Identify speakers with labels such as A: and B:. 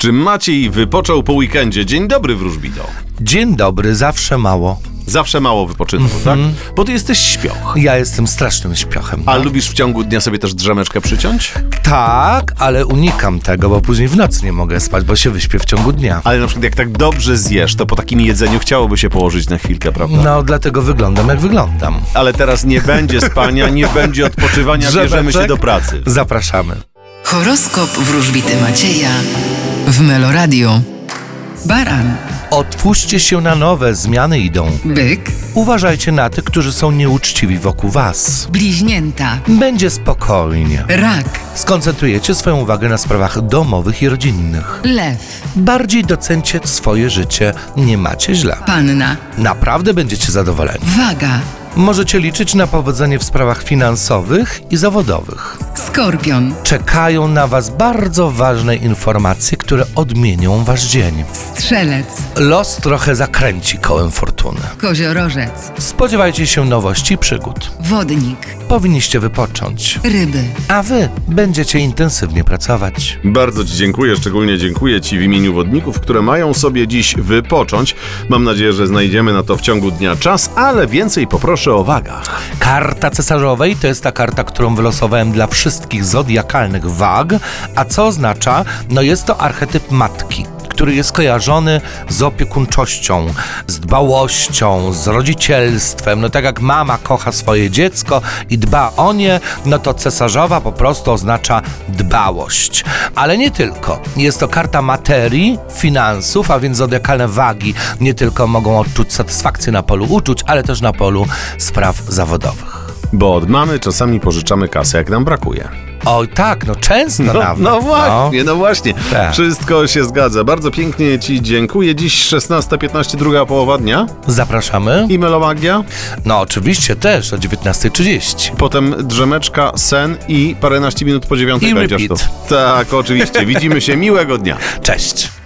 A: Czy Maciej wypoczął po weekendzie? Dzień dobry, wróżbito.
B: Dzień dobry, zawsze mało. Hmm.
A: Zawsze mało wypoczynku,
B: Mhm.
A: tak? Bo ty jesteś śpioch.
B: Ja jestem strasznym śpiochem.
A: A lubisz w ciągu dnia sobie też drzemeczkę przyciąć?
B: Tak, ale unikam tego, bo później w nocy nie mogę spać, bo się wyśpię w ciągu dnia.
A: Ale na przykład jak tak dobrze zjesz, to po takim jedzeniu chciałoby się położyć na chwilkę, prawda?
B: No, dlatego wyglądam jak wyglądam.
A: Ale teraz nie będzie spania, nie będzie odpoczywania, bierzemy się
B: Drzeweczek?
A: do pracy.
B: Zapraszamy.
C: Horoskop wróżbity Macieja w Meloradio. Baran,
B: Otwórzcie się na nowe, zmiany idą.
C: byk,
B: Uważajcie na tych, którzy są nieuczciwi wokół was.
C: bliźnięta,
B: Będzie spokojnie.
C: rak,
B: Skoncentrujecie swoją uwagę na sprawach domowych i rodzinnych.
C: lew,
B: Bardziej docencie swoje życie, nie macie źle.
C: panna,
B: Naprawdę będziecie zadowoleni.
C: waga,
B: Możecie liczyć na powodzenie w sprawach finansowych i zawodowych.
C: skorpion,
B: Czekają na Was bardzo ważne informacje, które odmienią Wasz dzień.
C: strzelec,
B: Los trochę zakręci kołem fortuny.
C: koziorożec,
B: Spodziewajcie się nowości i przygód.
C: wodnik,
B: Powinniście wypocząć,
C: ryby.
B: a Wy będziecie intensywnie pracować.
A: Bardzo Ci dziękuję, szczególnie dziękuję Ci w imieniu wodników, które mają sobie dziś wypocząć. Mam nadzieję, że znajdziemy na to w ciągu dnia czas, ale więcej poproszę o wagach.
B: Karta cesarzowej to jest ta karta, którą wylosowałem dla wszystkich zodiakalnych wag. A co oznacza? No jest to archetyp matki, który jest kojarzony z opiekuńczością, z dbałością, z rodzicielstwem. No tak jak mama kocha swoje dziecko i dba o nie, no to cesarzowa po prostu oznacza dbałość. Ale nie tylko. Jest to karta materii, finansów, a więc zodiakalne wagi nie tylko mogą odczuć satysfakcję na polu uczuć, ale też na polu spraw zawodowych.
A: Bo od mamy czasami pożyczamy kasę, jak nam brakuje.
B: Oj tak, no często nawet.
A: no właśnie, no, właśnie.
B: Tak.
A: Wszystko się zgadza. Bardzo pięknie Ci dziękuję. Dziś 16.15, druga połowa dnia.
B: No, Zapraszamy.
A: I melomagia.
B: No oczywiście też o 19.30.
A: Potem drzemeczka, sen i paręnaście minut po dziewiątej
B: I
A: będziesz
B: repeat.
A: tu. Tak, oczywiście. Widzimy się. Miłego dnia.
B: Cześć.